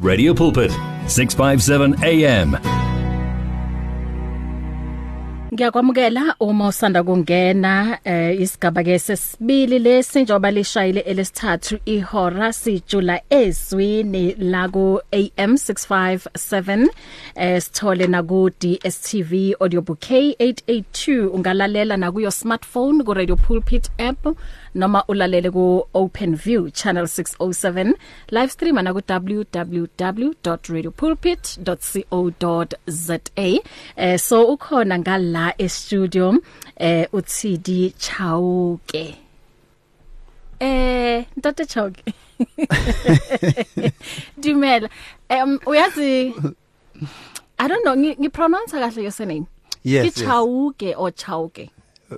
Radio Pulpit 657 AM Ngiyakwamukela uma usanda kungena eh, isigaba ke sesibili lesi njengoba lishayile elesithathu ihora sijula ezwini la ku AM 657 eh, sithole na ku DSTV audio bouquet 882 ungalalela na kuyo smartphone ku Radio Pulpit app noma ulalele ku OpenView channel 607 live stream na ku www.radiopulpit.co.za eh so ukhona ngala e studio eh uTD Chauke eh ntate Chauke Dumela um uyazi I don't know ngi pronounce kahle your surname Yes, yes. Chauke or Chauke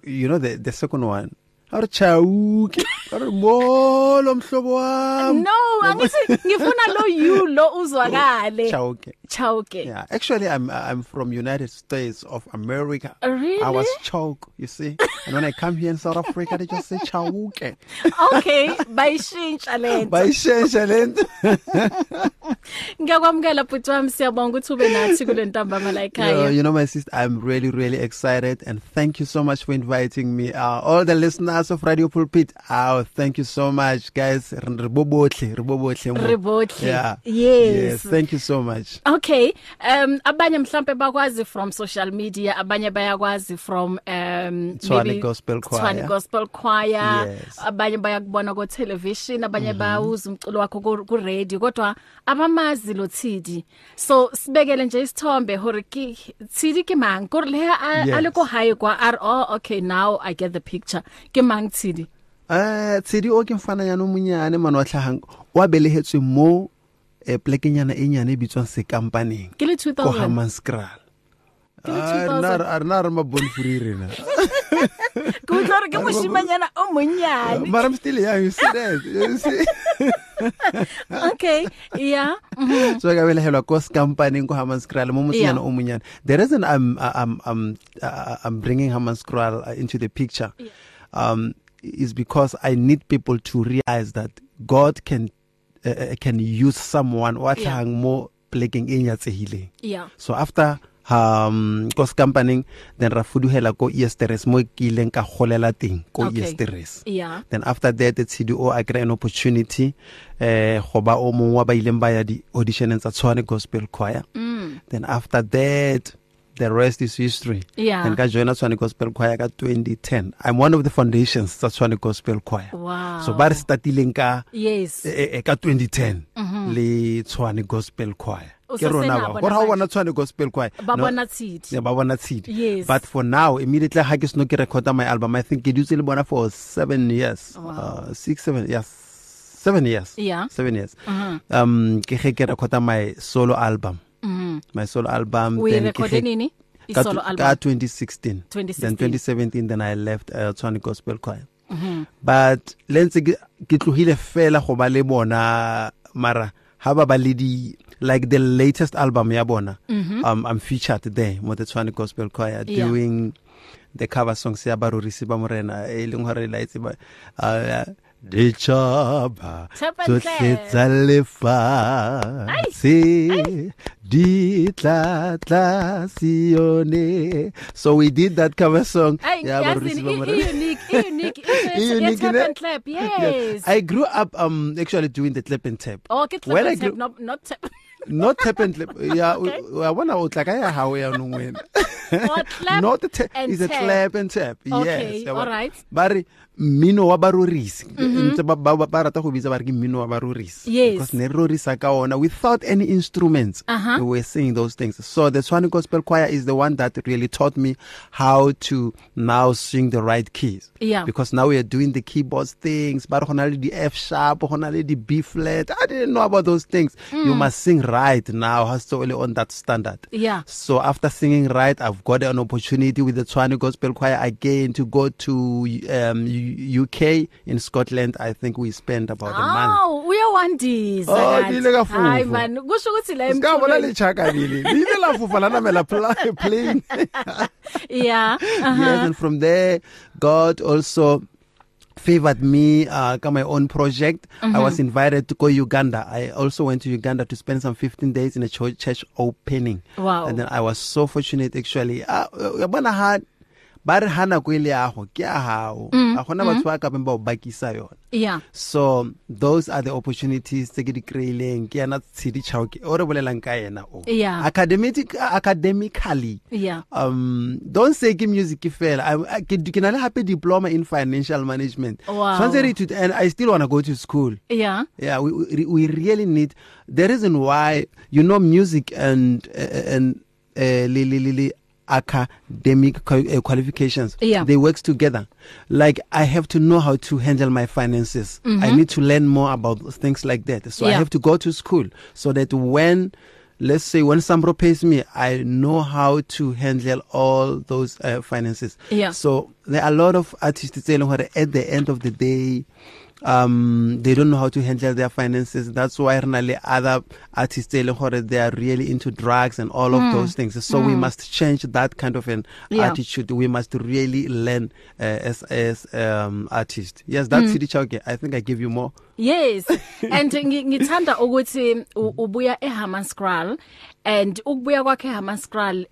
you know the the second one are chauke are molo mhlobo wami No angithi ngifuna lo you lo uzwakale chauke Chauke yeah actually i'm i'm from united states of america Really? i was choke you see and when i come here in south africa they just say chauke Okay, bayishintsha lento. bayishesha lento Ngiyakwamukela bhuti wami siyabonga ukuthi ube nathi kule ntambama la Yeah, ekhaya. you know my sister i'm really really excited and thank you so much for inviting me uh, all the listeners of radio pulpit oh thank you so much guys ribobotle ribobotle Re botlhe. yeah Yes. yes thank you so much Okay, um abanye mhlambe bakwazi from social media, abanye bayakwazi from um Tshwane maybe Gospel Choir. Tshwane Gospel Choir. Yes. Mhm. Abanye bayakubona ku television, abanye bayawuza umculo wakho ku- ku radio, kodwa abamazi lo Thidi. So sibekele nje isithombe hore ke Thidi ke mang? Gore le a Yes. a le ko high kwa R oh okay now I get the picture. Ke mang Thidi? eh tsedi o ke mfana ya no munyane mano wa tlhagang wa belegetswe mo eh plekenyana e nyane e bitswang se company Ke le ko 2000. Hammanskraal Ke le 2000. a rena re mabonfuri rena Ke utlwa hore ke moshimanyana o monyane. mara i'm still young you see that you see Okay, yeah. mhm. so ka belegelwa ko scampaneng ko hammanskraal mo motsonyana Yeah. o monyane the reason i'm uh, i'm i'm uh, i'm bringing hammanskraal uh, into the picture yeah. um is because i need people to realize that god can uh, uh, can use someone wa Yeah. tlhagang mo plekeng e nyatsegileng Yeah. so after um ko scampaneng then ra fudugela ko easteres mo ke ileng ka golela teng ko Okay. easteres Yeah. then after that the CDO I get an opportunity eh go ba o mong wa ba ileng ba ya di auditioneng tsa Tshwane Gospel Choir Mm. then after that the rest is history Yeah. and ka join Tshwane Gospel Choir ka 2010 I'm one of the foundations tsa Tshwane Gospel Choir Wow. so ba re startileng ka Yes. eh, eh, ka 2010 le Tshwane Gospel Choir O ke sa rona Oh, sena ba bona gore ha o manje. bona Tshwane Gospel Choir Ba no- bona Thidi. yeah, ba bona tshedi Yes. but for now immediately ha ke seno ke recorda my album i think ke dutse le bona for seven years Wow. uh, six seven yes seven years Yeah. seven years Mhm. um ke ge ke recorda my solo album Mhm. my solo album We then ke ge- recorded nini? ka Isolo tw- ka album. 2016 then 2016. 2017 then i left uh, Tshwane Gospel Choir Mhm. but le ntse ke ke tlohile fela go ba le bona mara ha ba ba le di like the latest album ya bona mm-hmm. um I'm featured there mo the Tshwane Gospel Choir Yeah. yeah. doing the cover songs ya barorisi ba morena e leng hore la itse ba uh, di chaba Tshapa tsotlhe ntle. tsa lefatshe di tla tla sione so we did that cover song Ay, ya barorisi yazi ba i- morena i- unique, i- unique. It's- You It's unique, tap ne? and clap. Yes. I grew up um actually doing the clap and tap. Oh, ke When I clap. grew- Not not tap. Not tap and clap. Yeah, Okay. I want to utla kaya hawe ya nungwena. Or clap Not the tap. and It's a tap. clap and tap. Okay, Yes. all right. Bari mino wa barorisi. Ntse ba ba ba- ba rata go bitsa ba re ke mino wa barorisi. Mm-hmm. Yes. Because ne rorisa ka ona without any instruments. Uh-huh. We were singing those things. So the Swan Gospel Choir is the one that really taught me how to now sing the right keys. Yeah. because now we are doing the keyboards things but hona le di F sharp hona le di B flat I didn't know about those things mm. you must sing right now has to only on that standard Yeah. so after singing right I've got an opportunity with the Tshwane Gospel Choir again to go to um U- UK in Scotland I think we spent about a month Aw, uyawandiza Oh, kanti. ngile kafufu. Hayi man, kusho ukuthi la Ngabona emculweni- le chaka lili lile la fufa la namela pla- plane Yeah. yes Uh-huh. and from there god also favored me uh, got my own project. Mm-hmm. I was invited to go Uganda. I also went to Uganda to spend some 15 days in a church, church opening. Wow. And then I was so fortunate actually. Ah, yabona ha ba re hana go ile ago ke a hao. Mm, A gona batho ba ka beng ba o bakisa yona. yeah So those are the opportunities tse ke di kry-ileng ke yana tshedi chauke o re bolelang ka ena o. Yeah. Academic, academically yeah um don't say ke music ke fela I- I- ke ke na le hape diploma in financial management Wow. tshwanetse re ithute- and i still want to go to school yeah yeah we, we, we really need the reason why you know music and uh, and uh, li, li, li, li, academic qua- uh, qualifications Yeah. they works together like i have to know how to handle my finances i need to learn more about things like that so i Mm-hmm. Yeah. have to go to school so that when let's say when sambro pays me i know how to handle all those uh, finances Yeah. so there are a lot of artists tse e leng gore at the end of the day um they don't know how to handle their finances that's why re na le other artists tse e leng gore they are really into drugs and all of those things so we must change that kind of an Hmm. Yeah. attitude we must really learn uh, as as um artists yes that's Hmm. mm. Chauke. i think i give you more Yes and ngi- ngithanda ukuthi u- ubuya eHammanskraal and ukubuya kwakhe eHammanskraal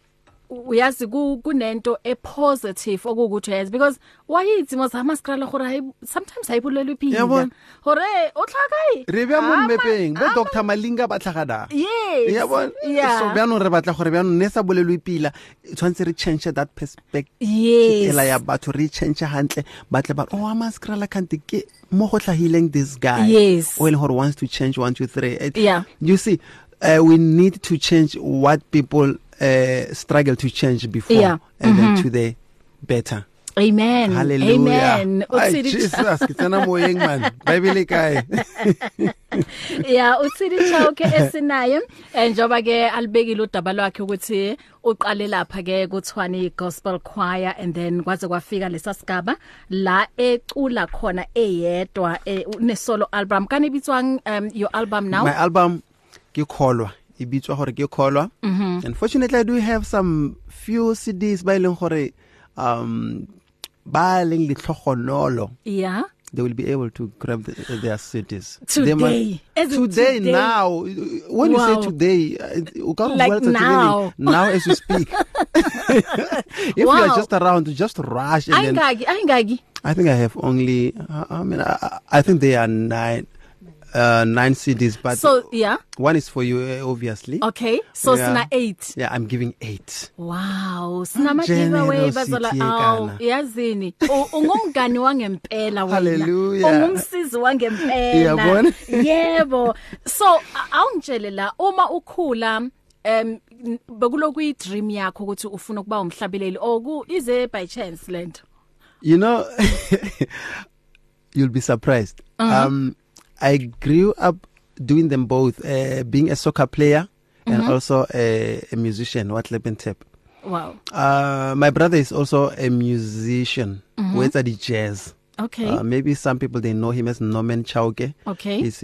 u- uyazi ku- kunento epositive okukuthi yes because wayithi mos Hammanskraal gore hayi sometimes ayibulelwe phila Yabona. hore o tlhakai re bea mo mmepeng bo dr malinga ba tlhagada ah, Yes ya bona so yeah bjanong re batla gore bjanong ne sa bolelwe pila tshwanetse re change that perspective yes ela ya batho re change hantle ba tle ba re, oh amaskrala kante ke mo go tlhagileng this guy Yes. o e leng gore wants to change one two three It- Yeah. you see uh, we need to change what people uh, struggle to change before Yeah. Mm-hmm. and then to the better amen hallelujah amen Ai, Uthini cha- jesus ke tsena moyeng man bible kae ya uthini chauke esinaye eh, njoba ke alibekile udaba lwakhe ukuthi uqale lapha ke kuthwani gospel choir and then kwaze kwafika lesa sigaba la ecula khona eyedwa eh, ne solo album kani bitswang um, your album now my album ke kholwa e bitswa gore ke kholwa Mm-hmm. unfortunately i do have some few cds ba e leng gore um ba leng letlhogonolo yeah they will be able to grab the, their cities Today. They As in today, today. now. When Wow. you say today, uh, uh, Like well, today, now. now as you speak. if you Wow. are just around, just rush. And then, ayingaki ayingaki I think I have only. I, I mean, I, I think there are nine, uh, nine cities, but so yeah one is for you, uh, obviously. okay so Yeah. sina 8 Yeah, I'm giving eight. Wow, sinama giveaway Generosity bazola aw yekana. yazini ungumngani wangempela wena Hallelujah. ungumsizi wangempela Uyabona? yebo so a- awungitshele la uma ukhula em n- bekulokuyi dream yakho ukuthi ufuna ukuba umhlabeleli oku ize by chance lento You know, you'll be surprised. Um, I grew up doing them both, uh, being a soccer player and also a, a musician, what Leben Tap. wow Uh, my brother is also a musician, with the jazz. okay Oh, Uh, maybe some people they know him as Norman Chauke. Okay. He's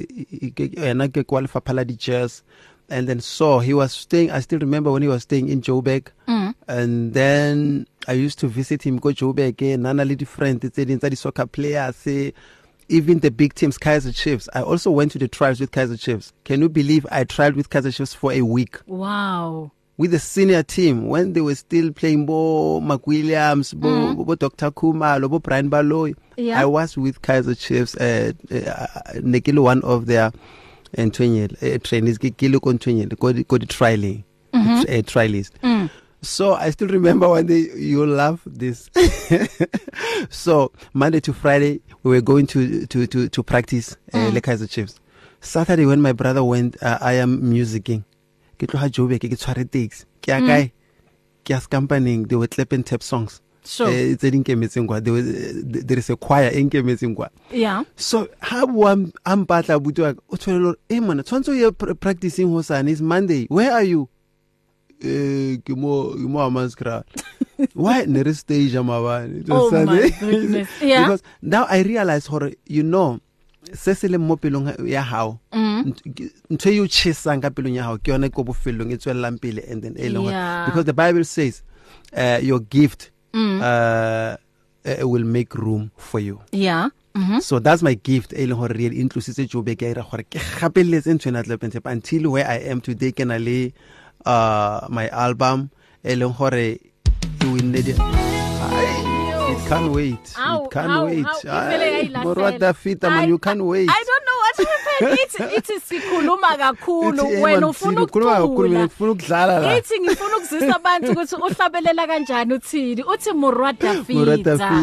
and I qualify Paladi Jazz. And then so he was staying I still remember when he was staying in Joburg. Mm. And then I used to visit him go Joburg eh, nana le different tse ding tsa di soccer players eh, even the big teams Kaizer Chiefs. I also went to the trials with Kaizer Chiefs. Can you believe I trialed with Kaizer Chiefs for a week? wow with the senior team when they were still playing bo McWilliams, bo, bo, bo Dr. Kumalo, bo Brian Baloy. Yeah. I was with Kaiser Chiefs, uh, uh, Nekilo, one of their uh, trainees, Kilo Kontwenyel, got the trialing, uh, trialist. So I still remember one day you love this. so Monday to Friday we were going to to to, to practice uh, le Kaizer Chiefs. Saturday when my brother went, uh, I am musicking. Ke tloga Joburg ke tshware taxi. Ke ya Mm. kae? Ke ya scampaning. They were clapping tap songs. Sure. Eh, tse di nkemetseng kwa. There was uh, there is a choir e nkemetseng kwa. yeah So ha bua a mpatla abuti wa ka, o tshwere lore, "Eh mona, tshwantse o ye pr- practicing hosane is Monday. Where are you?" Eh ke mo ke mo Hammanskraal. Why ne re stage mabane? It was Oh, my Sunday. goodness. Yeah. Because now I realize hore you know se se leng mo pelong ya gago Mm, ntho e o chesang ka pelong ya gago ke yone ko bofelelong e tswelelang pele and then e leng hore- Yeah. because the bible says uh, your gift uh, uh, will make room for you yeah Mm-hmm. so that's my gift e leng gore re intlositse e jobe ke a ira gore ke gapeleletse ntho ena tlepentshep until where i am today ke na le uh, my album e leng gore e winne di- Ai, it can't wait Ow, it can't ow, wait ow, ivele Ai, yayilahlela. morwa Ah, dafita man I- you can't wait I don't know what happened. Ithi ithi sikhuluma kakhulu Ithi, "Eh, wena man, ufuna Sipho, khuluma kakhulu, mina ukukhuluma. ngifuna ukudlala la Ithi ngifuna ukuzisa abantu ukuthi uhlabelela kanjani uthini. Uthi Murwa Dafita. morwa Ah. dafita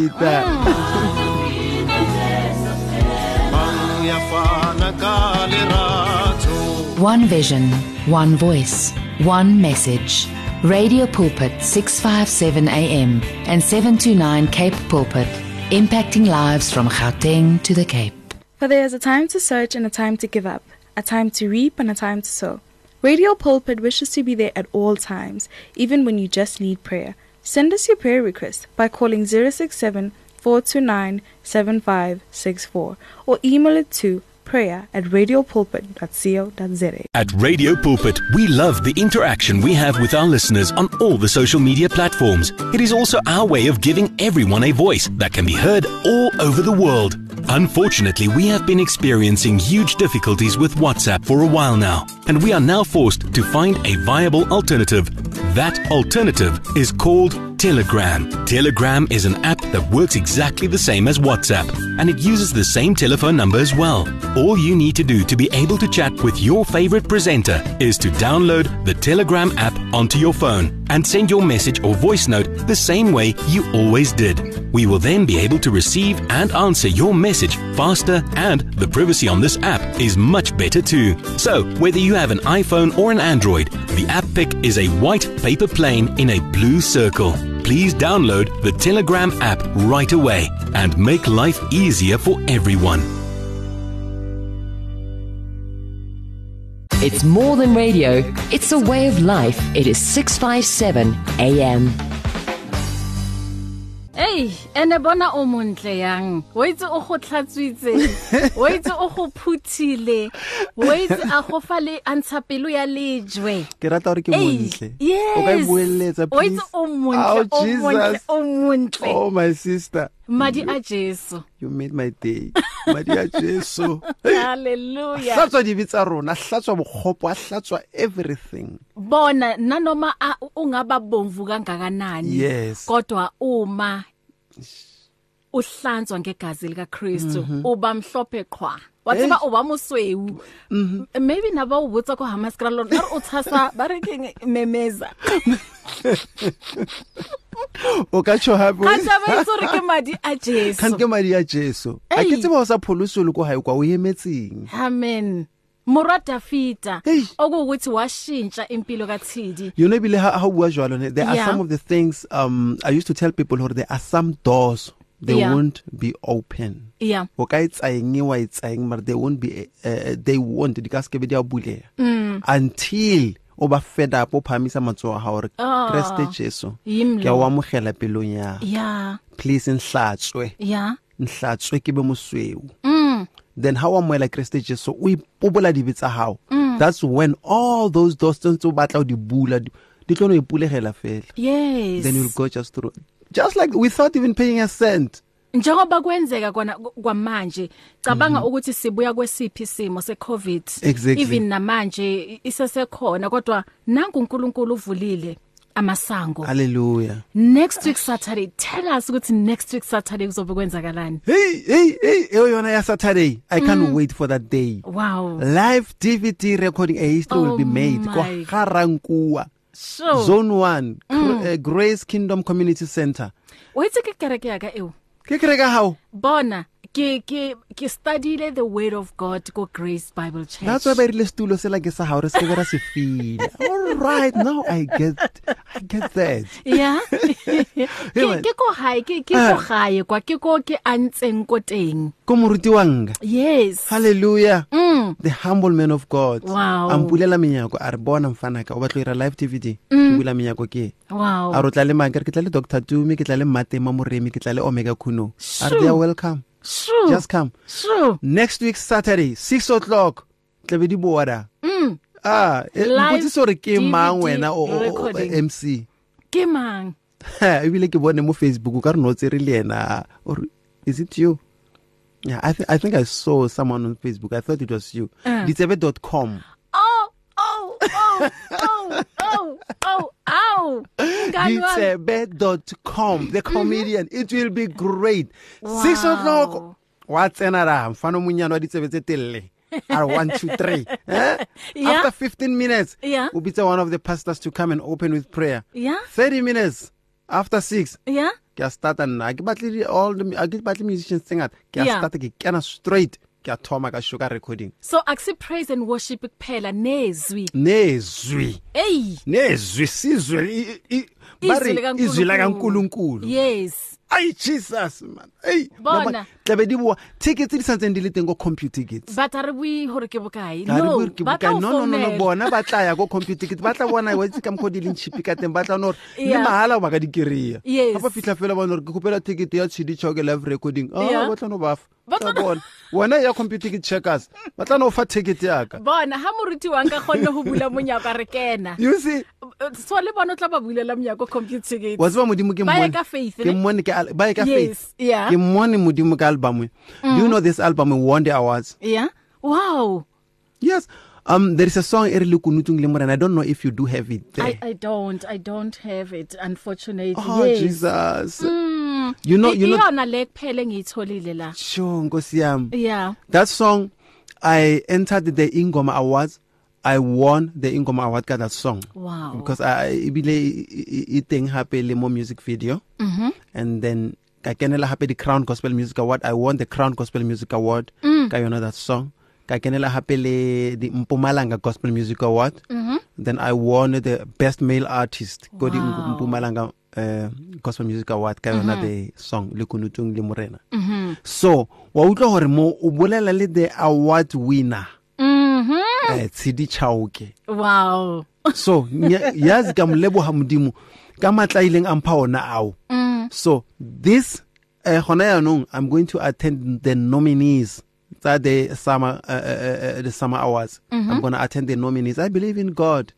One vision, one voice, one message. Radio Pulpit 657 AM and 729 Cape Pulpit, impacting lives from Gauteng to the Cape. For there is a time to search and a time to give up, a time to reap and a time to sow. Radio Pulpit wishes to be there at all times, even when you just need prayer. Send us your prayer request by calling 067 429 7564 or email it to prayer at radiopulpit.co.za. At Radio Pulpit, we love the interaction we have with our listeners on all the social media platforms. It is also our way of giving everyone a voice that can be heard all over the world. Unfortunately, we have been experiencing huge difficulties with WhatsApp for a while now, and we are now forced to find a viable alternative. That alternative is called Telegram. Telegram is an app that works exactly the same as WhatsApp, and it uses the same telephone number as well. All you need to do to be able to chat with your favorite presenter is to download the Telegram app onto your phone and send your message or voice note the same way you always did. We will then be able to receive and answer your message faster, and the privacy on this app is much better too. So, whether you have an iPhone or an Android, the app pic is a white paper plane in a blue circle. Please download the Telegram app right away and make life easier for everyone. It's more than radio, it's a way of life. It is 657 AM. Hey, ene bona o montle yang. Wo itse o go tlhatswitse. Wo itse o go phuthile. Wo itse a go fa le antsha pelo ya lejwe. ke rata gore ke Hey, montle yes. o ka e boeletsa O itse please? o Ow, montle, o montle, Jesus. o montle. oh my sister Madi a Jesu. you made my day madi a jesu Hallelujah. hlatswa dibe tsa rona hlatswa bogopo a hlatswa everything bona nanoma a- ungababomvu kangakanani Yes. kodwa uma uhlanzwa ngegazi likaKristu uba mhlophe qhwa watsiba uba moswewu maybe naba u botsa ko hamaskral lord are o tshasa ba re keng memeza o ka tsho ka gape taba itse re ke madi a kgang Jesu ke madi a jesu a ke Ei. tseba o sa pholosolo ko gae kwa o emetseng amen Murwa Dafita Eish. okuwukuthi washintsha impilo kaThidi you know ebile ga o bua jalo ne there are Yeah. some of the things um, i used to tell people gore there are some doors they Yeah. won't be open yeah o ka e tsaeng wa e tsaeng mare they won't be uh, they won't di ka sekebe di a bulega Mm. until o ba fed up o phamisa matsogo ga gore Ah. kreste jesu Yim ke a o Lord. amogela pelong ya yeah please e nhlatswe yeah nhlatswe ke be mosweu Mm. then ha o amoela kreste jesu o ipobola dibe tsa gago Mm. that's when all those doors tse ntse o batla o di bula di- di tlono ipulegela fela yes then you'll go just through just like without even paying a cent njengoba kwenzeka kona kwamanje cabanga ukuthi sibuya kwesiphi isimo secovid Mm-hmm. Exactly. even namanje isesekhona kodwa nangu uNkulunkulu uvulile amasango hallelujah next week saturday tell us ukuthi next week saturday kuzobe kwenzakalani hey hey hey eyo yona ya saturday i Mm. can't wait for that day wow live dvd recording a history will Oh be made my. ko garankuwa so zone 1 Mm. Gr- uh, grace kingdom community center wethe ke kereke ya ka ew ke kereka gago bona ke ke ke studyile the word of god go grace bible church that's why ba irile setulo sela ke sa gago re sekebe ra se fila all right now i get i get that yeah ke man. Eh. ke ko high ke ke ko high kwa ke ko ke antseng ko teng ko moruti wanka yes halleluya Mm. the humble man of god Wow. a mpulela menyako a re bona mfanaka o batlo ira live tvd Mm. ke bula menyako ke e a Wow. re o tla le mang ka re ke tla le doctor tumi ke tla le matema moremi ke tla le omega kuno a re Sure. they are welcome Shoo. just come shoo. next week saturday six o'clock tlabe di boda Mm. ah e- Live mpotsiso gore ke DVD mang wena o- o- o- recording. mc Ke mang? Ha, ebile ke bone mo facebook o ka re no o tsere le ena or is it you Yeah, I, th- I think I saw someone on Facebook. I thought it was you. Uh. Ah. Ditsebe.com. Oh, oh, oh, oh, oh, oh, ow. Umngani wami. Ditsebe.com. The comedian. Mm-hmm. It will be great. Wow. Six o'clock. What's another? Mfano munyana wa ditsebe tse telle. are one, two, three. Eh? Yeah. After 15 minutes, Yeah. we'll be to one of the pastors to come and open with prayer. Yeah. 30 minutes after 6, Yeah. ke a starta nna ga ke batle di- all the- ha ke batle musicians tse ngata ke a Yeah. starta ke kena straight ke a thoma ka show ka recording So akusi praise and worship kuphela nezwi. nezwi Ey. nezwi sizwe i- i- ba re izwi lakankulunkulu Yes. ai jesus man ei Bona. Noma- tlabe di boa tickets di santseng di le teng ko computer tickets But are we hore ke bokae? Ha re No. bue ke ba bokae. tla o no no no no founela. bona ba tla ya ko computer tickets ba tla bona wa itse ka mokgwa o di leng chipi ka teng ba tla bona gore le Yeah. mahala ba ka di kry-a Yes. Ga ba fitlha fela ba bona gore ke kgopela ticket ya tshedi choke live recording Ah, Yeah. ba tla no bafa Ba Tla tla- bona wena ya computer ticket checkers ba tla no fa ticket yaka Bona ha moruti wa nka khonne ho bula monyaka re kena. you see So le bona o tla ba bulela monyako computer ticket. wa tseba modimo ke Ba ye mmone- ka faith, ke ne? mmone ke al- ba ye ka Yes, faith yeah. Mm. ke mmone modimo ka album e. do you know this album won the awards Yeah. Wow. yes um there is a song e re le kunutung le morena i don't know if you do have it there I I don't I don't have it unfortunately. oh yes. Hmm. jesus you know you know Iyona le kuphela engiyitholile la. sure nkosi yami Yeah. that song i entered the ingoma awards i won the ingoma award ka that song Wow. Oh. because i I- ebile e- e- e teng hape le mo music video mm-hmm. and then ka kenela hape the crown gospel music award i won the crown gospel music award mm. ka yona that song ka kenela hape le the mpumalanga gospel music award mm-hmm. then i won the best male artist ko di Wow. mpumalanga uh, gospel music award ka yona mm-hmm. the song le kunutung le morena mm-hmm. so wa utlwa gore mo o bolela le the award winner Mhm. eh, tshedi chauke Wow. so nya- yazi ka moleboga modimo ka matla a ileng ampha ona ao so this uh, gona yaanong i'm going to attend the nominees tsa the summer, uh, uh, uh, the summer hours Mm-hmm. i'm going to attend the nominees i believe in god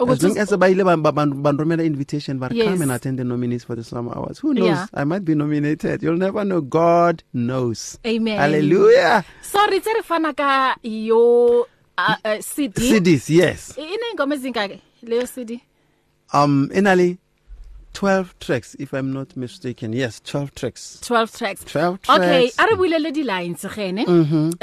as Ukuthi long as ba ile ba- ba- ba- ba nromela invitation but Oh, Yes. come and attend the nominees for the summer hours who knows Yeah. i might be nominated you'll never know god knows Amen. hallelujah sorry tse re fana ka yo uh, uh, cd cds yes E- iney'ngoma ezingaki leyo cd Um, Inali, 12 tracks, if I'm not mistaken. Yes, 12 tracks. 12 tracks 12 tracks. Mm-hmm. okay a re builele di-lines gene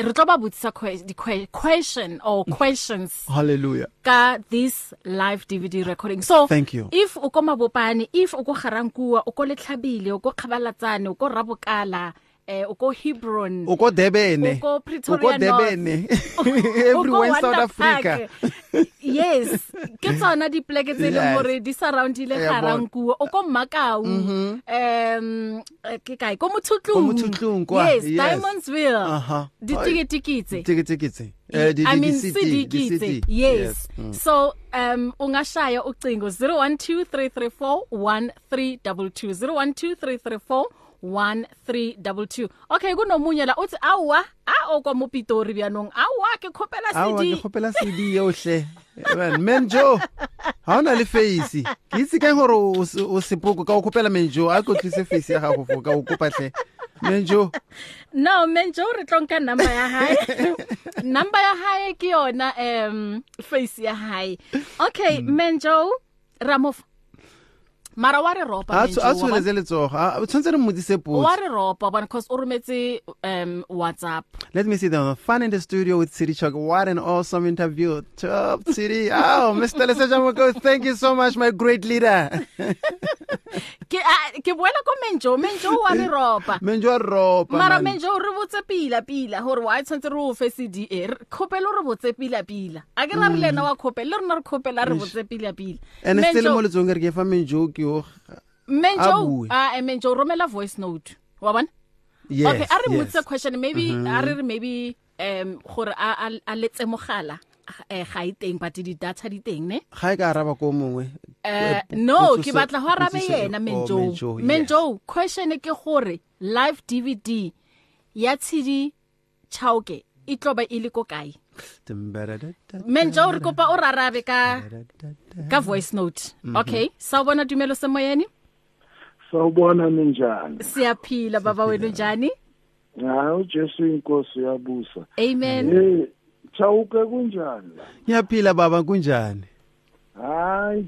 re tlo ba botsisa que- di- que- question or questions Hallelujah. ka this live dvd recording so Thank you. if o ko mabopane if o ko garankua o ko letlhabile o ko kgabalatsane o ko rabokala um o ko hebron Uko Debene. Uko Pretoria Uko North. Debene. O ko Everywhere in South Wonder Africa. Park. yes ke tsona dipleke tse e leng Yes. gore di surroundile Yeah, bona. garankuo o ko mmakau um eh, ke kae ko Mm-hmm. Ko Mothotlong mothutlong kwa, yes. yes Uh-huh. diamondsville Aha. ditikitikitse Tikitse. Eh, di- I di- mean di- CD, di- Hmm. sidikitse CD. yes so um ungashaya ucingo 0123341322 0123341322 okay kunomunye la uthi awa a okwa mopitori byanong awa ke khopela Awa ke CD kgopela CD yohle. Eh, Man, Menjo. Ha ona le face. Ke itse ka gore o se- o sepoko ka o kopela Menjo, a ko tlise face ya gago fo ka o kopa tle. Menjo. no menjo re tlonka number ya hae number ya hae ke yona um face ya hae okay Hmm. menjo ramof mara wa re ropa A Menjo, tshw- a wa bona? tshweletse letsogo. A- o Tshwantse re modise potso. wa re ropa bone cause o rometse um whatsapp Let me see them. Fun in the studio with City Chuck. What an awesome interview. Top City. Oh, Mr. Lesejamoko, thank you so much, my great leader. ke ah, ke boela ko menjo menjo wa Eh, re ropa Menjo Ropa. mara man. menjo re botse pila pila gore wa e tshwanetse re o fe cd e kgopele re botse pila pila a ke ra Mm. re le ena wa kgopele le rona re kgopela re botse pila pila And still mo Menjo- letsong re ke fa oh, Menjo ke yo. a menjo bue. a e, menjo romela voice note wa bona Yes. okay a yes. re Mm-hmm. motse question maybe a re re maybe um gore a a- a letse mogala eh, ga e teng but di data di teng ne Ga e ka araba ko mongwe. Eh, Eh, no potso ke se- batla go arabe potso se- yena oh, menjo Menjo, menjo question e ke gore live dvd ya tshedi chauke e tloba e le ko kae Yes. menjo re kopa o rarabe ka ka voice note Mm-hmm. okay sa o bona tumelo semoyeni sawubona ninjani siyaphila baba wenu njani hayi ujesu inkosi uyabusa amen Eh, chawuke kunjani la ngiyaphila baba kunjani hayi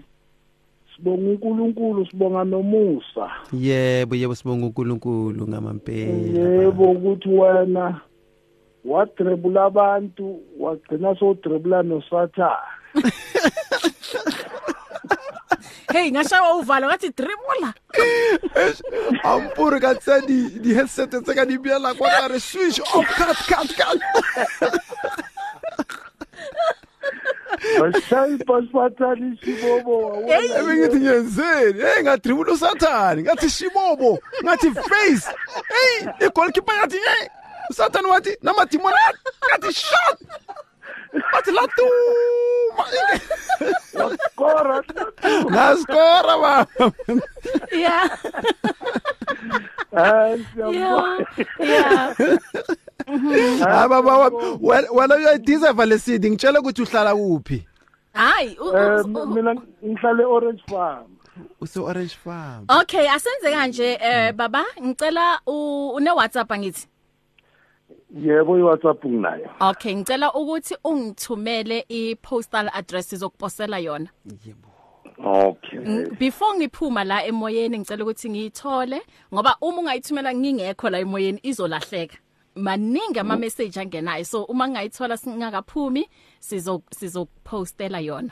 sibonga uNkulunkulu sibonga nomusa yebo yebo sibonga uNkulunkulu ngamampela yebo ukuthi wena wadrebula abantu wagcina sowudrebula nosathane hey ngashawa uvalo ngathi dribula ampuri ka tsa di di headset tse ka di beela kwa kare switch off oh, cut cut cut bashayi basibathani isibobo wawona ebe ngithi ngiyenzeni hey ngadribula usathane ngathi shibobo ngathi face hey igoalkeeper ngathi hey usathane wathi namadimoni ngathi shot wathi latuma kora ngasikora baba yeah hayi siyabonga yeah yeah hayi baba wami wena- wena uyayideserve lesidi ngitshela ukuthi uhlala kuphi hayi u- Eh, u- u- mina ngihlale orange farm use-orange farm Okay, asenze kanje Mm. eh baba, ngicela u- une WhatsApp angithi. yebo iwhatsapp nginayo Okay, ngicela ukuthi ungithumele i-postal address izokuposela yona. okay Ng- Before ngiphuma la emoyeni ngicela ukuthi ngiyithole ngoba uma ungayithumela ngingekho la emoyeni izolahleka. Maningi ama message angenayo. So uma ngayithola singakaphumi sizo sizokupostela yona.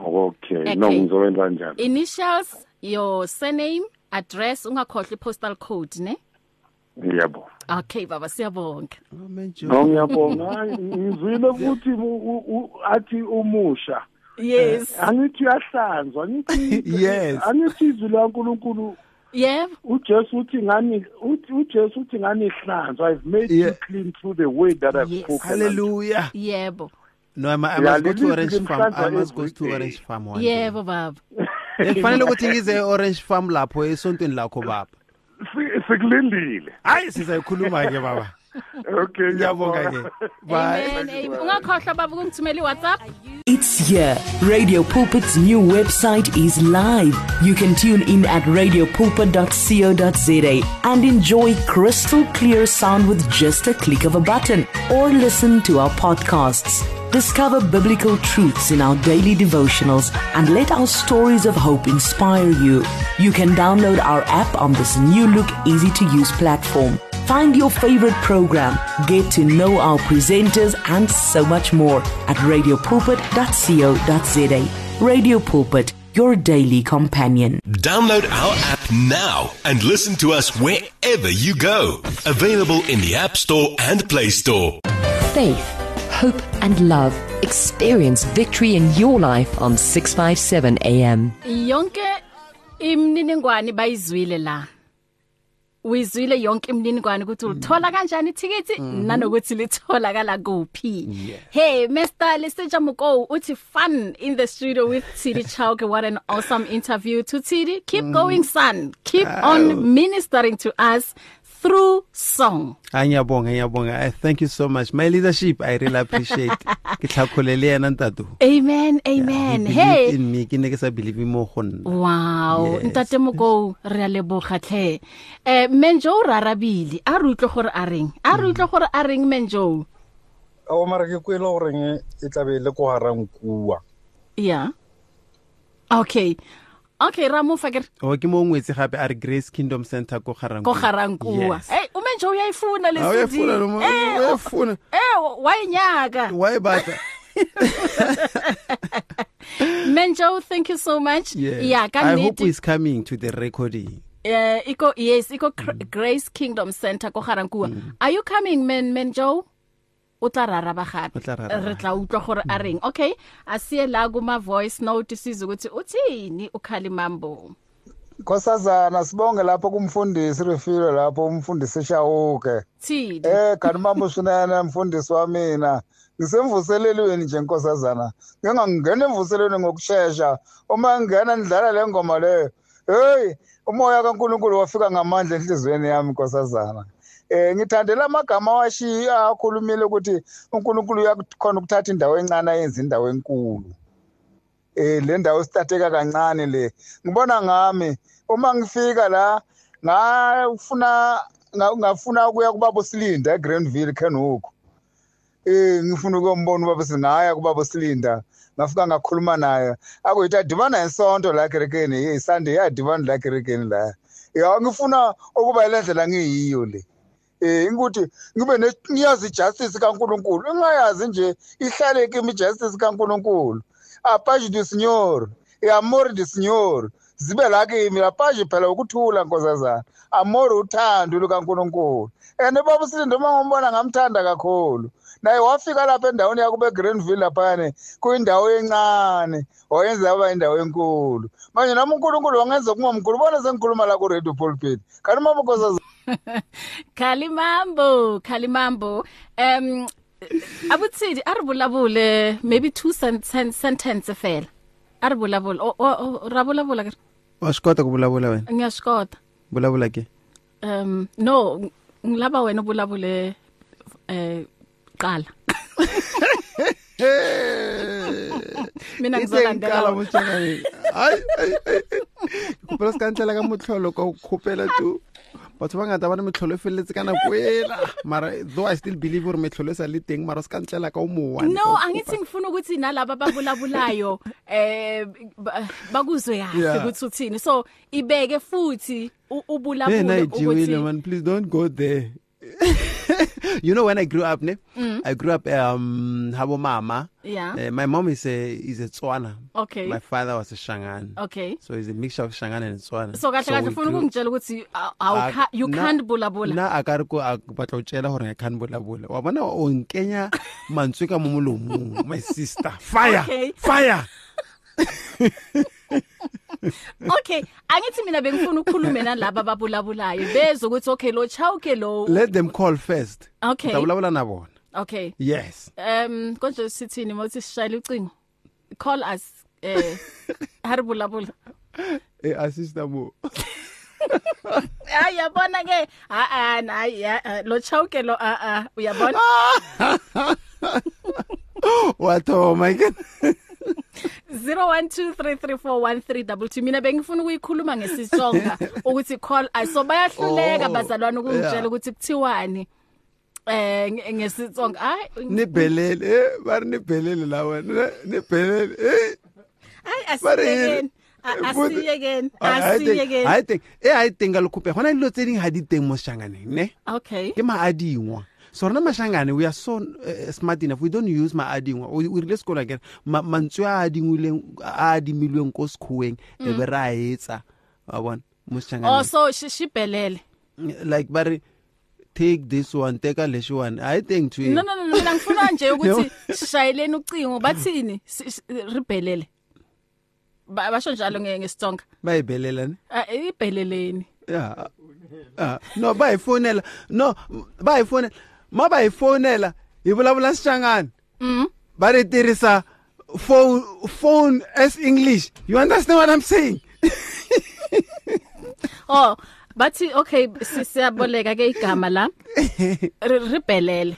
okay Okay. no ngizowenza njani Initials, your surname, address, ungakhohlwa i-postal code ne? yebo Okay baba, siyabonga. Oh, no ngiyabonga Hayi, ngizwile ukuthi mu- u- u- athi umusha Yes. angithi uyahlanzwa angithi Yes. angithi izwi likaNkuluNkulu Yebo. uJesu uthi ngani uthi uJesu uthi ngani hlanzwa I've made Yeah. you clean through the word that I've Yes. spoken hallelujah Yebo. no i, mu- I must go to Yeah, orange lilithi farm i limhlanza must go to every orange farm one day. Yebo baba. Eh, kufanele ukuthi ngize e-orange farm lapho esontweni lakho baba Si- sikulindile hayi sizayikhuluma ke baba okay ngiyabonga ke bye Amen. Amen. Ungakhohlwa baba ukungithumela iWhatsApp. It's here. Radio Pulpit's new website is live. You can tune in at radiopulpit.co.za and enjoy crystal clear sound with just a click of a button or listen to our podcasts. Discover biblical truths in our daily devotionals and let our stories of hope inspire you. You can download our app on this new look, easy to use platform. Find your favorite program, get to know our presenters, and so much more at radiopulpit.co.za. Radio Pulpit, your daily companion. Download our app now and listen to us wherever you go. Available in the App Store and Play Store. faith, hope, and love. Experience victory in your life on 657 AM. Yonke imniningwane bayizwile la. Uyizwile yonke imniningwane ukuthi ulithola kanjani ithikithi nanokuthi lithola kala kuphi. Hey Mr. Liseja Muko uthi fun in the studio with Tidi Chauke what an awesome interview to Tidi. Keep going son. Keep on ministering to us through song. hayi ngiyabonga ngiyabonga Eh, thank you so much my leadership i really appreciate ke tlhakolele yena ntato Amen. Amen. He Hey. believed in me ke ne ke sa believe mo go nna wow Yes. ntate moko re a lebogatlhe um menjo o rarabile a re utlwe gore a reng a re utlwe gore a reng menjo o Oh, mara ke kwele goreng e tlabe e le ko garang kua yeah okay okay ramofa kere o Oh, ke mo ngwetse gape a re grace kingdom center ko garang ko garankua Yes. e umenjo uyayifuna Ah, uyafuna lo mo- uyafuna. e wayinyaka wa e batla menjo thank you so much Yes. yeah i hope kannete is coming to the recording Eh, iko yes iko Cr- Mm. grace kingdom center ko garankua are you coming man menjo o tla raraba gape O tla raraba. Mm. re tla utlwa gore a reng okay asiye la kuma voice note sizwe ukuthi uthini ukhalimambo nkosazana sibonge lapho kumfundisi rifile lapho umfundisi shawuke thini eh kanti mambo swinene mfundisi wa mina ngisemvuselelweni nje nkosazana ngingangena emvuselelweni ngokushesha uma ngingena ndidlala le ngoma leyo heyi umoya kankulunkulu wafika ngamandla enhliziyweni yami nkosazana um ngithandela amagama washi akhulumile ukuthi unkulunkulu uyakhona ukuthatha indawo encane ayenze indawo enkulu eh le ndawo sitateka kancane le ngibona ngami uma ngifika la ngafuna nga- ngafuna ukuya kubaba usilinda egrandville kenhook um ngifuna ukuyombona ubaba usilinda ngaya kubaba usilinda ngafika ngakhuluma naye akuyithi adibana nesonto la kerekeni ye sunday yadibana la kerekeni la ya ngifuna ukuba ile ndlela ngiyiyo le um ukuthi ngibe ne- ngiyazi ijustice kankulunkulu ingayazi nje ihlale kimi ijustice kankulunkulu apashi de signor iamori de signor zibe la kimi apashi phela ukuthula nkosazana amori uthando lukankulunkulu and ubaba usilinda uma ngombona ngamthanda kakhulu naye wafika lapha endaweni yakho begrandville laphane kuyindawo encane wayenza yaba yindawo enkulu manje nami unkulunkulu wangenza kungamkhulu bona sengikhuluma la ku-radio pulpit kanti uma nkosazana Kalimambo, Kalimambo. Um abutsidi aribulabule maybe two sentence sentence fela. Aribulabule. O o rabulabula ke. wa swi kota ku vulavula wena Ngiyashikota. vulavula ke Um no ng- ngilaba wena ubulabule eh qala. Mina Itenkala ngizolandela. mojakane. Ai, ai, ai, ai. Ke kopela se ka ntlela ka motlholo ka go kgopela to batho ba ngata ba ne metlholo e feleletse ka nako ela mara though i still believe gore metlholo e sa le teng mara o se ka ntlela ka o mowane No angithi ngifuna ukuthi nalabo ababulabulayo eh ba- bakuzwe kahle Yeah. ukuthi uthini. So ibeke futhi u- Then ubulabule I ukuthi Jiwile, man, please don't go there. you know, when I grew up, ne? Mm. I grew up um Habo Mama. Yeah. Uh, my mom is a is a Tswana. Okay. My father was a Shangan. Okay. So it's a mixture of Shangan and Tswana. so kahle kahle we funa grew- ukungitshela ukuthi uh, awu- Ah, ca- you na- can't bulabula nna a ka re ko a batla go tsela gore a kgane bolabola e wa bona o nkenya mantswe ka mo molomong my sister fire Okay. fire okay angithi mina bengifuna ukukhulume nalabo ababulabulayo bezwe ukuthi okay lo chawuke lo let them call first Okay. tabolabola na bona okay yes um konje sithini uma uthi sishayele ucingo call us eh haribulabula e a sister mo hayi yabona ke a a hayi eh, lo chawuke lo a a uyabona wa thoma ke 0123341322 mina bengifuna ukuyikhuluma ngesitsonga ukuthi call us so bayahluleka Oh, bazalwane ukungitshela yeah. ukuthi kuthiwani eh nge- ngesitsonga hayi ni belele eh ba re ni belele la wena ne- ni belele eh hayi Mare yini? asiyekeni A- Futhi- asiyekeni I- I think- I asiyekeni think e a e teng ka lekgopega go na dilo tse dingwe ga di teng mo shanganeng ne okay ke maadingwa so rona mashangane we are so uh, smart enough we don't use maadingwa o o rile sekolo akere ma- mantswe a adingwileng a adimilweng ko sekgoweng e be re a etsa wa bona mo oh shanganeng so shi- shibhelele like ba re take this one teka lexiwani a e teng to no no no mina ngifuna nje ukuthi No. shayeleni ucingo bathini Si- si- ribhelele Ba- basho njalo nge- ngesitsonga ba e belelane Ah, ibheleleni yeah. uh, no ba hi fonela no ba hi fonela ma ba e hi fonela hi vulavula swichangani mm ba ri tirhisa phone phone as english you understand what i'm saying Oh, bathi okay si- siyaboleka ke igama la. Ri- Ribhelele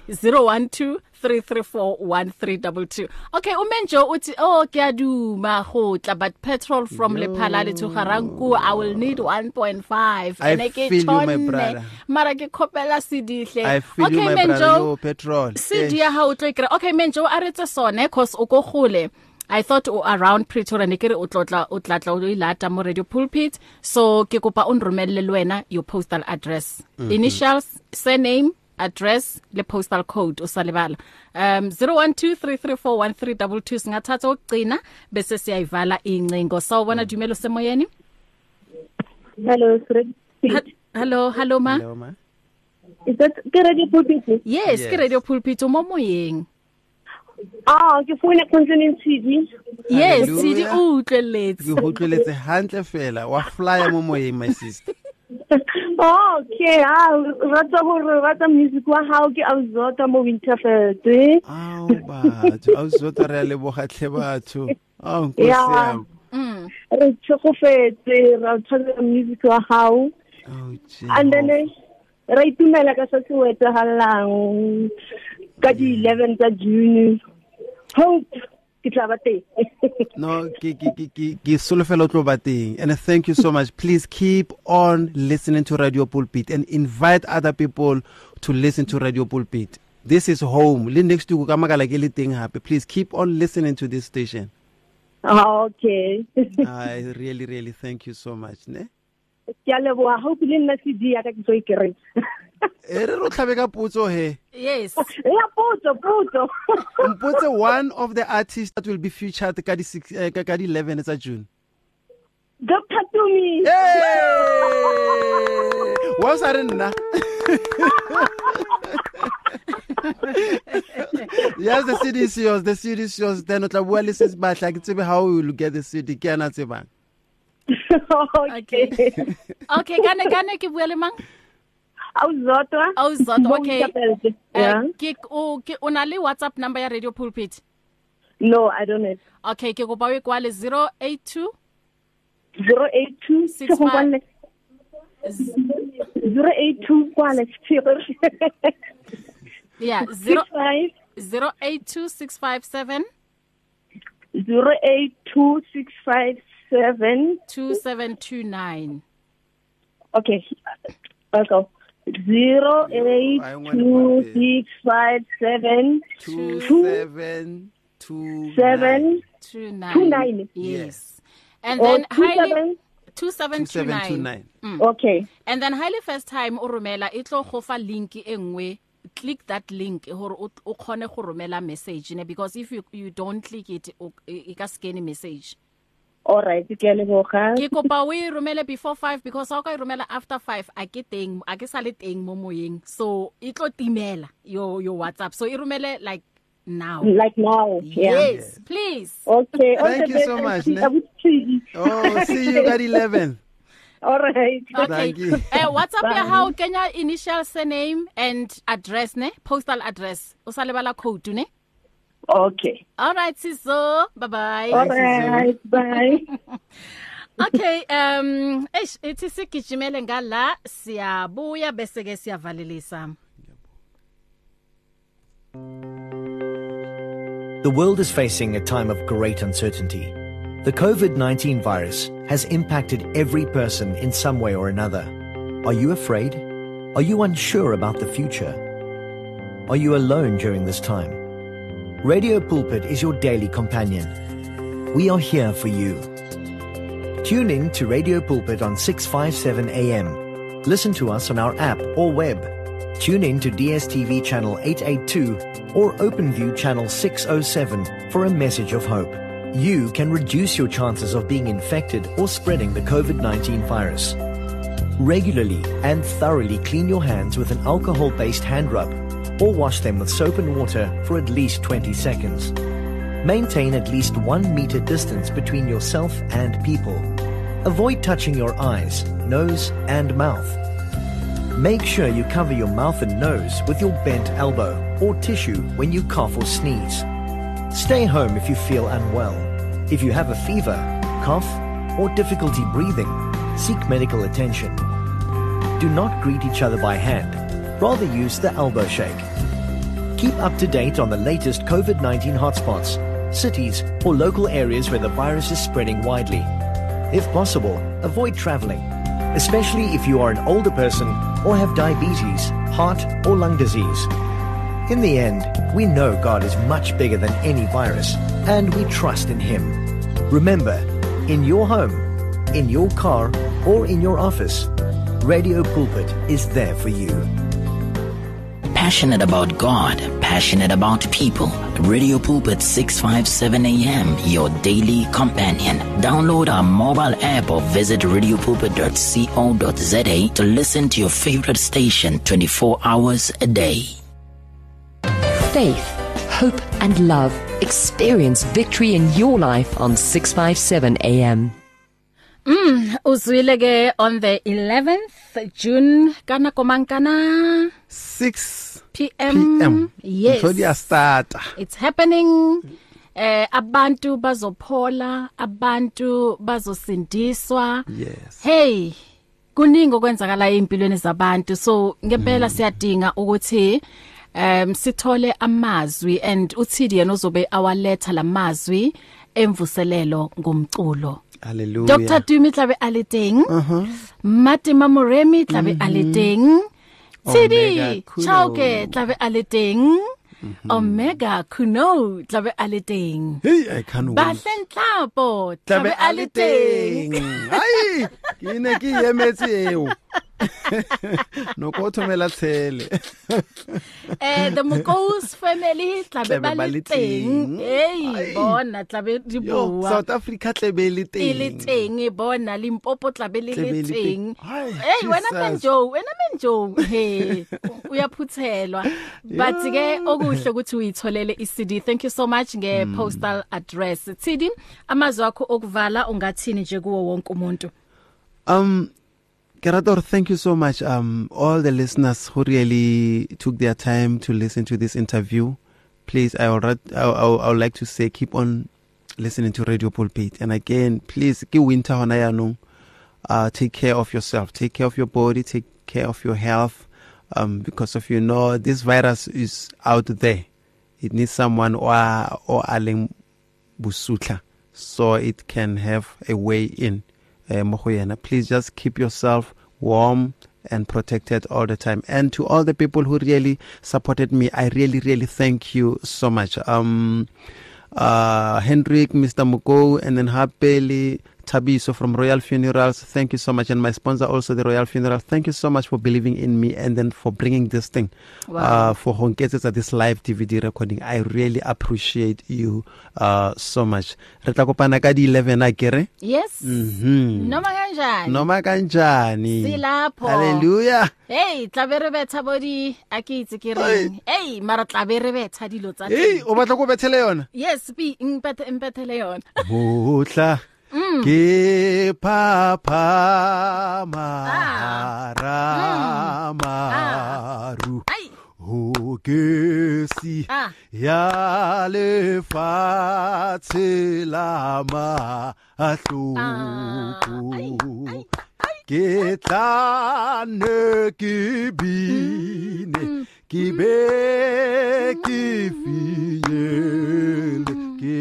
0123341322. Okay, umenjo uthi oh kuyaduma gotla but petrol from Lephalale to Garanku I will need 1.5 I Ene ke feel you, my tjhonne. brother. Mara ke khopela sidihle. Eh, i feel you my brother yo petrol Eh, CD ya hao tlo ikre. Okay menjo a retse sone cause o go gole. I thought o around Pretoria ne kere o tlotla o tlatla o lo ilata mo radio pulpit. So ke kopa o nromelle le wena your postal address. Mm -hmm. Initials, surname, address le postal code usalibala. Um 0123341322 singathatha ukugcina bese siyayivala incingo. Sawubona Dumelo semoyeni? Hello, it's Red- Ha- Hello, hello ma. Hello, ma. is that ke radio pulpit? Yes, yes. ke Yes. radio pulpit mo moyeng. Ah, ke founa concerning CD. Yes, CD o utlweletse. ke hotlweletse hantle fela wa flyer mo moyeng my sister Oh, okay. Ah, rata gore rata music wa hao ke Awuzota mo Winterfeld. eh? Ah. batho a usota re a lebogatlhe batho a nkosi Yeah. yam Re tshogofetse ra tshwara music wa hao. And then eh, ra itumela ka se se wetagalang ka di 11 tsa June. Hope ke tla ba teng no ke ke ke ke ke solofela o tlo ba teng and thank you so much please keep on listening to radio pulpit and invite other people to listen to radio pulpit this is home le next week o ka makala ke le teng gape please keep on listening to this station Oh, okay i really really thank you so much ne ke a leboga gaupi le nna cd yaka ke tso e keretsa e re ro tlhabe ka potso he yes ya potso potso mpotse one of the artists that will be featured ka di six- eh, ka ka di 11 tsa june dr tumi wa o sa re nna yes the cd is yours the cd is yours then o tla bua le se batla ke tsebe how you will get the cd ke ana tsebang okay okay gane gane ke bua le mang awuzodwa awuzodwa okay yeah Eh, ke o ke o na le whatsapp number ya radio pulpit no i don't know okay ke kopa o e kwale 082 zero eight two Six sego five- kwale zero eight two kwale sego yeah zero- 082657278 zero eight two six five seven 2729 okay okay zero eight two six five seven two two seven two nine. seven two nine yes and Or then two highly seven- 2729 2729. Mm. okay and then highly first time o romela e tlo go fa link e nngwe click that link gore o o khone go romela message ne because if you you don't click it o- e e ka scan message all right ke a leboga ke kopa o e romele before 5 because ha o ka e romela after 5 a ke teng a ke sale teng mo moyeng so e tlo timela yo yo whatsapp so e romele like now like now yeah yes please okay all the Thank you so best. much, I ne? would see. oh see you at 11 all right okay Thank you. eh whatsapp ya Bye. hao kenya initial surname and address ne postal address o sa lebala code ne okay all right sizo bye bye all right bye okay um eish ithi sigijimele ngala siyabuya bese ke siyavalelisa The world is facing a time of great uncertainty. The COVID 19 virus has impacted every person in some way or another. Are you afraid? Are you unsure about the future? Are you alone during this time? Radio Pulpit is your daily companion. We are here for you. Tune in to Radio Pulpit on 657 AM. Listen to us on our app or web. Tune in to DSTV channel 882 or OpenView channel 607 for a message of hope. You can reduce your chances of being infected or spreading the COVID 19 virus. Regularly and thoroughly clean your hands with an alcohol based hand rub or wash them with soap and water for at least 20 seconds. Maintain at least one meter distance between yourself and people. Avoid touching your eyes, nose, and mouth. Make sure you cover your mouth and nose with your bent elbow or tissue when you cough or sneeze. Stay home if you feel unwell. If you have a fever, cough, or difficulty breathing, seek medical attention. Do not greet each other by hand, rather, use the elbow shake. Keep up to date on the latest COVID 19 hotspots, cities, or local areas where the virus is spreading widely. If possible, avoid traveling, especially if you are an older person or have diabetes, heart, or lung disease. In the end, we know God is much bigger than any virus, and we trust in Him. Remember, in your home, in your car, or in your office, Radio Pulpit is there for you. Passionate about God, passionate about people. Radio Pulpit 657 AM, your daily companion. Download our mobile app or visit radiopulpit.co.za to listen to your favorite station 24 hours a day. Faith, hope, and love. Experience victory in your life on 657 AM. Mm, uzwile ke on the 11th June kana komankana 6 pm, pm yes so dia starta it's happening eh abantu bazophola abantu bazosindiswa yes hey kuningi okwenzakala empilweni zabantu so ngempela siyadinga ukuthi um sithole amazwi and uthidi yena uzobe awaletha lamazwi emvuselelo ngomculo Hallelujah. Dr Dumi tlabe a le teng Matima Moremi tlabe a le teng Tidi Omega Kuno. Chauke tlabe a le teng Mm-hmm. Omega Kuno tlabe a le teng Hey, I can't wait. Bahle Nhlapo tlabe Mm-hmm. a le teng Ai, ke ne ke emetse eo. Nokothomela tshele. Eh the Mokos family tlabe Tlabe ba le teng Hey bona tlabe di Yo, bua South Africa tlebe le e le teng. teng e bona limpopo tlabe le Tlabe le le teng teng. hey wena Jesus. menjo wena menjo he uyaphuthelwa but ke okuhle ukuthi uyitholele iCD thank you so much nge postal address tsidi amazwi akho okuvala ungathini nje kuwo wonke umuntu Um Gerator, thank you so much. Um, all the listeners who really took their time to listen to this interview, please, I would, rat- I, I, I would like to say, keep on listening to Radio Pulpit. And again, please, ke winter hona yanong, uh, take care of yourself, take care of your body, take care of your health, um, because of you know this virus is out there. It needs someone or or aleng busutla so it can have a way in eh, mo go yena please just keep yourself warm and protected all the time and to all the people who really supported me i really really thank you so much um uh hendrik mr mugo and then hapeli tabiso from royal funerals thank you so much and my sponsor also the royal funeral thank you so much for believing in me and then for bringing this thing Wow. uh, for honketsetsa this live dvd recording i really appreciate you uh, so much re tla kopana ka di 11 a kere yes Mhm. noma kanjani noma kanjani Silapho. halleluya hey tlabe re betha bodi akitse ke reng hey mara tlabe re betha dilo tsa ei teng o batla ko bethele yona yes bi impethe impethele yona motla Mm. ke phaphama ramaru o kesi Ah. ya lefatshe la maatlhoko ke tlane ke bine ke be ke finyele ke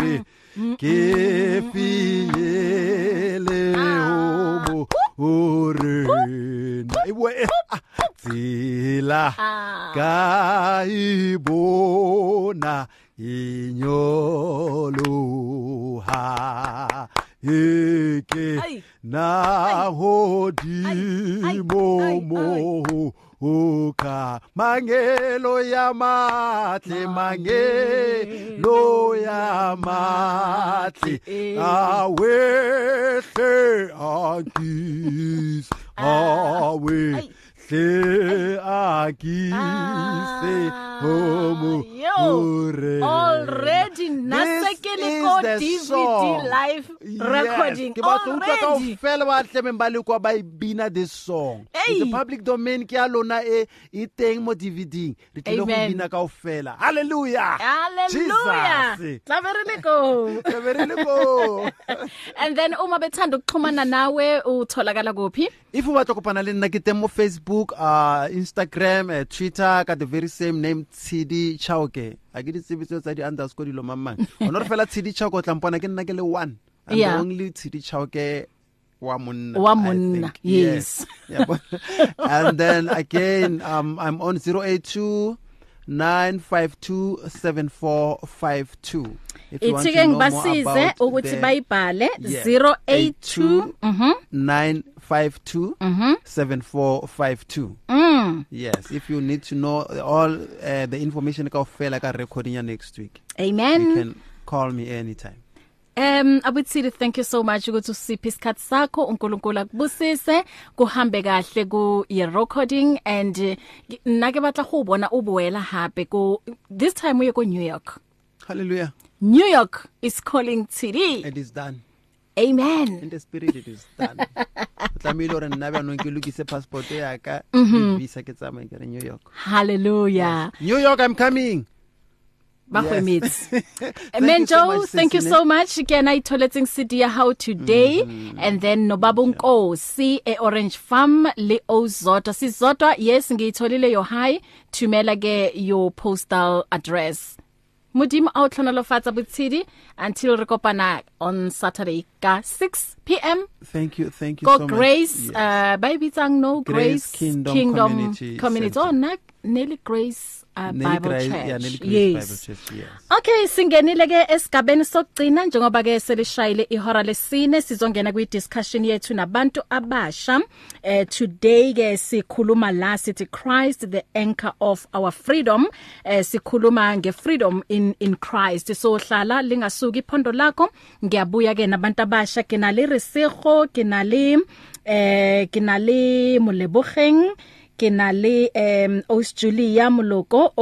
be ke finyele homo orena Ewe, ah, tsela Ah. ka ibona inyoloha eke na hodimo moho oka mangelo ya matle mangelo ya matle awehle akis awehle akise Ah, homo ore already nase This ke le is ko the DVD song. live recording Yes, ke batla ho utlwa already kaofela ba tlemeng ba le kwa ba e bina this song Hey. It's a public domain ke ya lona e e teng mo dvdng re tlile go Amen. bina kaofela halleluya Hallelujah. Tlaberile go. Tlaberile go. And then uma bethanda ukuxhumana nawe utholakala kuphi? if o batla kopana le nna ke teng mo facebook uh, instagram uh, twitter ka the very same name tshedi chaoke a ke ditsebiso tsa di-underscore dilo mamang ona re fela tshedi chaoke o tlampona ke nna ke le one I'm Yeah. the only tshedi chaoke wa monna Wa I monna, think. yes. Yeah, but- and then again um, i'm on 082 9527452 If you want to Ithike know more ngibasize about ukuthi the- bayibhale Yeah. 082 mhm 952 mhm 7452 Mm. yes if you need to know all uh, the information kaofela ka recording ya next week you Amen. can call me anytime Um abuthile thank you so much ukuthi usiphe isikhatsi sakho uNkulunkulu akubusise kuhambe kahle ku ye recording and eh, ke- nna ke batla go bona o boela hape ko this time uye ko New York. hallelujah New York is calling TD. it is done Amen. in the spirit it is done o tlamehile gore nna bjanong ke lokise passport yaka Mhm. visa ke tsamaye kere new york Hallelujah. new york i'm coming bahwemetsi Thank you so menjo much, thank you Sisine. so much ke na itholetseng cd ya hao today Mm-hmm. mm. and then nobabonkosi e-orange farm le ozodwa sizodwa yes ngiyitholile your high thumela ke your postal address modimo a o tlhonolofatsa botshedi until re kopana on saturday ka 6 pm Thank you, thank you go so grace much. uh ba e bitsang no Grace grace, Kingdom Community community oh na nelly grace uh, Nelly bible Grace- church yeah, Nelly Grace yes Bible Church, yes. Okay singenile ke esigabeni sokugcina njengoba ke selishayile ihora lesine sizongena kwi discussion yethu nabantu abasha eh today ke sikhuluma la sithi Christ the anchor of our freedom eh sikhuluma nge freedom in in Christ so hlala lingasuki iphondo lakho ngiyabuya ke nabantu abasha ke nale resego ke nale eh ke nale molebogeng ke na le um os julia moloko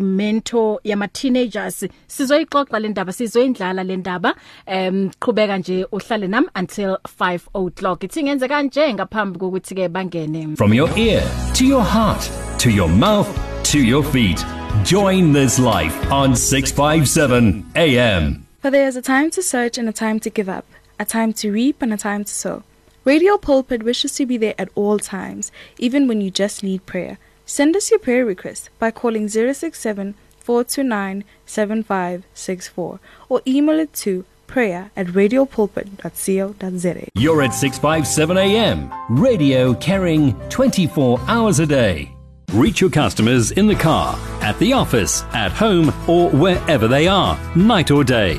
okuyi-mentor yama-teenagers sizoyixoxa le ndaba sizoyindlala le ndaba um qhubeka nje uhlale nami until 5 o'clock ithi ngenze kanje ngaphambi kokuthi-ke bangene From your ear to your heart to your mouth to your feet. Join this life on 657 AM. For there is a time to search and a time to give up, a time to reap and a time to sow. Radio Pulpit wishes to be there at all times, even when you just need prayer. Send us your prayer request by calling 067 429 7564 or email it to prayer at radiopulpit.co.za. You're at 657 AM, radio carrying 24 hours a day. Reach your customers in the car, at the office, at home, or wherever they are, night or day.